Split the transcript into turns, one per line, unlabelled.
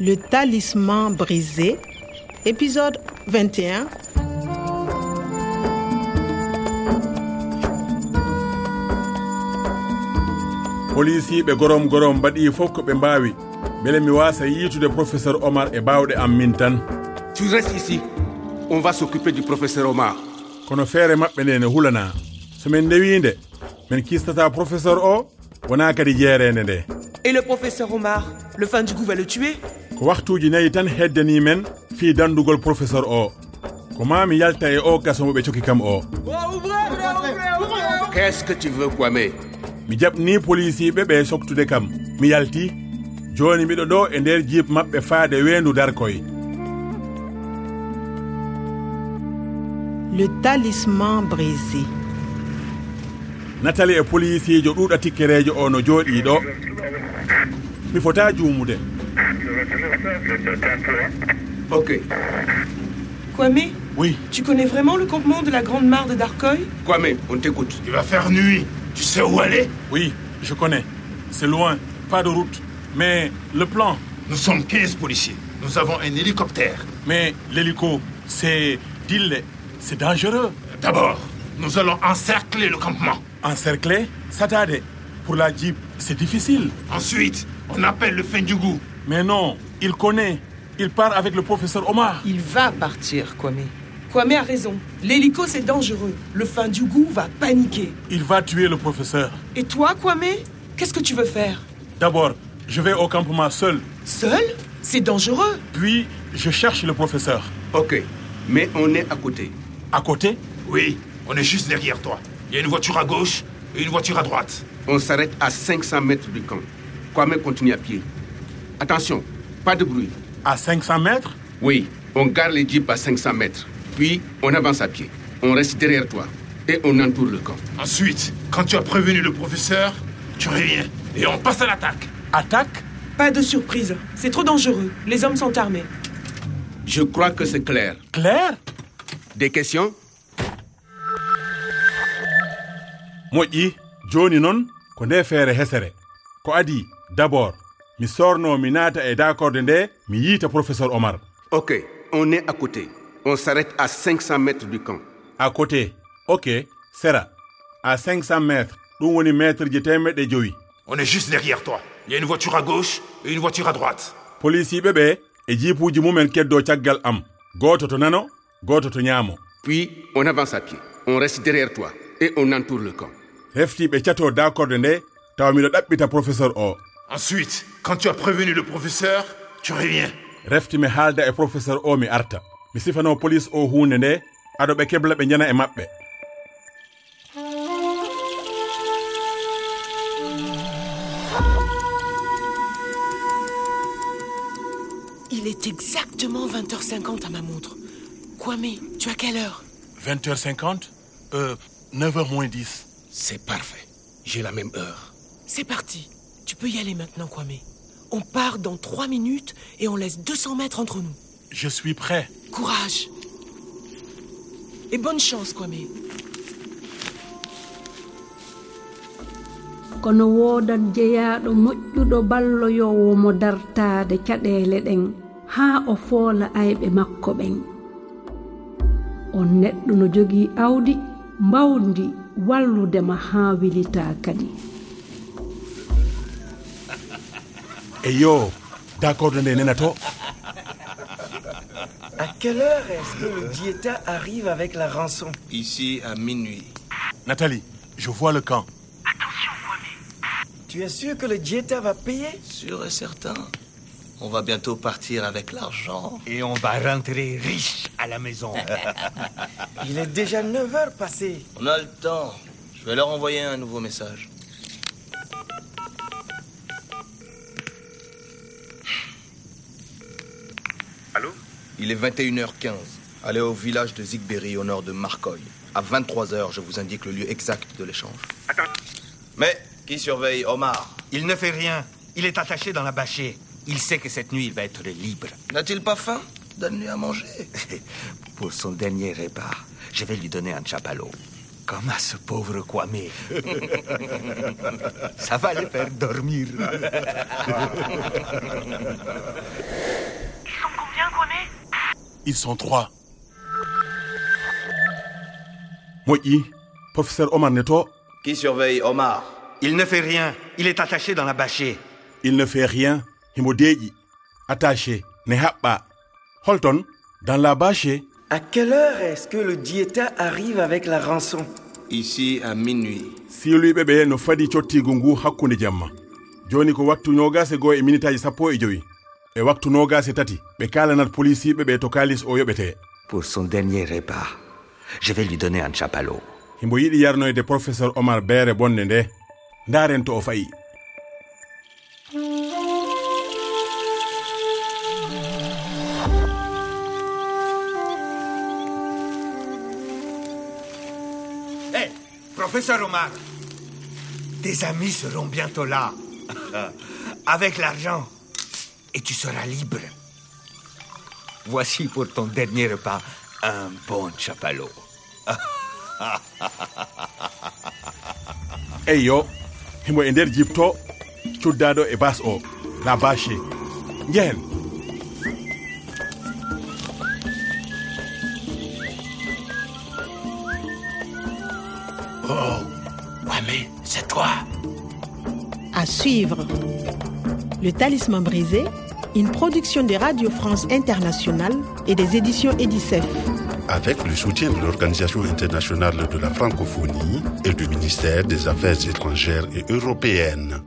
Le talisman brisé, épisode 21.
polisiɓe gorom gorom mbaɗi fof ko ɓe mbaawi beele mi waasa yiitude professeur omar e baawɗe am min tan
Tu restes ici. On va s'occuper du professeur Omar.
kono feere maɓɓe nde ne hulana so min ndewiinde min kistata professeur o wonaa kadi jeereende nde
Et le professeur Omar, le fan du coup va le tuer
ko waktuuji nayi tan heddanii men fii danndugol professeur o ko maa mi yalta e o gaso mo ɓe coki kam o
Qu'est-ce que tu veux, Kwame
mi jaɓnii polisiiɓe ɓe soktude kam mi yaltii jooni mbiɗo ɗo e ndeer jiip maɓɓe faade weendu darkoye
Le talisman brisé.
natali e polisiijo ɗuuɗa tikkereejo o no jooɗii ɗo mi fotaa juumude
Ok.
Kwame
Oui,
Tu connais vraiment le campement de la Grande Mare de Darkoy
Kwame, on t'écoute.
il va faire nuit. Tu sais où aller
Oui, je connais. C'est loin, pas de route. Mais le plan,
Nous sommes 15 policiers. Nous avons un hélicoptère.
mais l'hélico, c'est d'île, c'est dangereux.
D'abord, nous allons encercler le campement.
Encercler, ça tarde. Pour la Jeep, c'est difficile.
Ensuite, on appelle le Fendjougou.
Mais non, il connaît. Il part avec le professeur Omar.
Il va partir, Kwame. Kwame a raison. L'hélico, c'est dangereux. Le fin du goût va paniquer.
Il va tuer le professeur.
Et toi, Kwame Qu'est-ce que tu veux faire
D'abord, je vais au campement seul.
Seul C'est dangereux.
Puis, je cherche le professeur.
Ok. Mais on est à côté.
À côté,
Oui, on est juste derrière toi. Il y a une voiture à gauche et une voiture à droite.
On s'arrête à 500 mètres du camp. Kwame continue à pied. Attention, pas de bruit.
à 500 mètres,
Oui, on garde les jeeps à 500 mètres. Puis, on avance à pied. On reste derrière toi. Et on entoure le camp.
Ensuite, quand tu as prévenu le professeur, tu reviens et on passe à l'attaque.
attaque.
Pas de surprise. C'est trop dangereux. Les hommes sont armés.
Je crois que c'est clair.
Claire
Des questions
moƴƴi joni noon ko nde feere hesere ko adi d'abord mi sorno mi naata e dakorde nde mi yiita professeur omar
Ok, on est à côté. On s'arrête à 500 mètres du camp.
à côté ok sera à 500 mètres ɗum woni métre ji temeɗɗe joyi
On est juste derrière toi. Il y a une voiture à gauche et une voiture à droite.
polisiɓe ɓe e jiipuji mumen keddo caggal am goto to nano goto to ñaamo
Puis, on avance à pied. On reste derrière toi et on entoure le camp.
heftiɓe catto dakorde nde tawa miɗo ɗaɓɓita professeur o
Ensuite, quand tu as prévenu le professeur, tu reviens.
refti mi haalda e professeur o mi arta mi sifano police o hunde nde aɗo ɓe kebla ɓe jana e maɓɓe
Il est exactement 20h50 à ma montre. Kwame, tu as quelle heure
20h50 euh, 9h moins 10.
C'est parfait. J'ai la même heure.
C'est parti. Tu peux y aller maintenant, Kwame. On part dans 3 minutes et on laisse 200 mètres entre nous.
Je suis prêt.
Courage. Et bonne chance, Kwame.
kono wodan jeeyaɗo moƴƴuɗo balloyowo mo dartade caɗele ɗen haa o foola ayɓe makko ɓen on neɗɗo no jogii awdi mbawdi walludema haa wilita kadi
Et E yo, d'accord de Nenato
À quelle heure est-ce que le diéta arrive avec la rançon
Ici à minuit.
Nathalie, je vois le camp.
Tu es sûr que le diéta va payer
Sûr et certain. On va bientôt partir avec l'argent.
Et on va rentrer riche à la maison.
Il est déjà 9 heures passées.
On a le temps. Je vais leur envoyer un nouveau message.
Il est 21h15. Allez au village de Zigberry au nord de Marcoy. À 23h, je vous indique le lieu exact de l'échange.
Mais qui surveille Omar
Il ne fait rien. Il est attaché dans la bâchée. Il sait que cette nuit, il va être libre.
N'a-t-il pas faim Donne-lui à manger.
Pour son dernier repas, je vais lui donner un chapalot. Comme à ce pauvre Kwame. Ça va les faire dormir.
Ils sont combien, Kwame
Ils sont trois. Moï, professeur Omar Neto,
Qui surveille Omar
Il ne fait rien. Il est attaché dans la bâchée.
il ne fait rien. Himodeji, attaché, Nehapa. Holton, dans la bâche,
À quelle heure est-ce que le diéta arrive avec la rançon
Ici à minuit.
siyluɓe ɓe no fadi cottigu ngu hakkunde jamma joni ko waktu ñogase goo e minitaji sappo e joyi e waktu nogase tati ɓe kalanat policiɓe ɓe to kalis o yoɓete
Pour son dernier repas, je vais lui donner un chapalot.
himbo yiɗi yarnoyde professeur omar beere bonde nde ndaren to o fayi
Hé, Eh, professeur Omar, tes amis seront bientôt là. Avec l'argent. Et tu seras libre. Voici pour ton dernier repas un bon chapalot.
eyyo himbo e nder jipto cuddaɗo e bas o la bache jehen
Kwame, c'est toi
À suivre. Le talisman brisé, une production de Radio France Internationale et des éditions Edicef.
avec le soutien de l'Organisation internationale de la francophonie et du ministère des Affaires étrangères et européennes.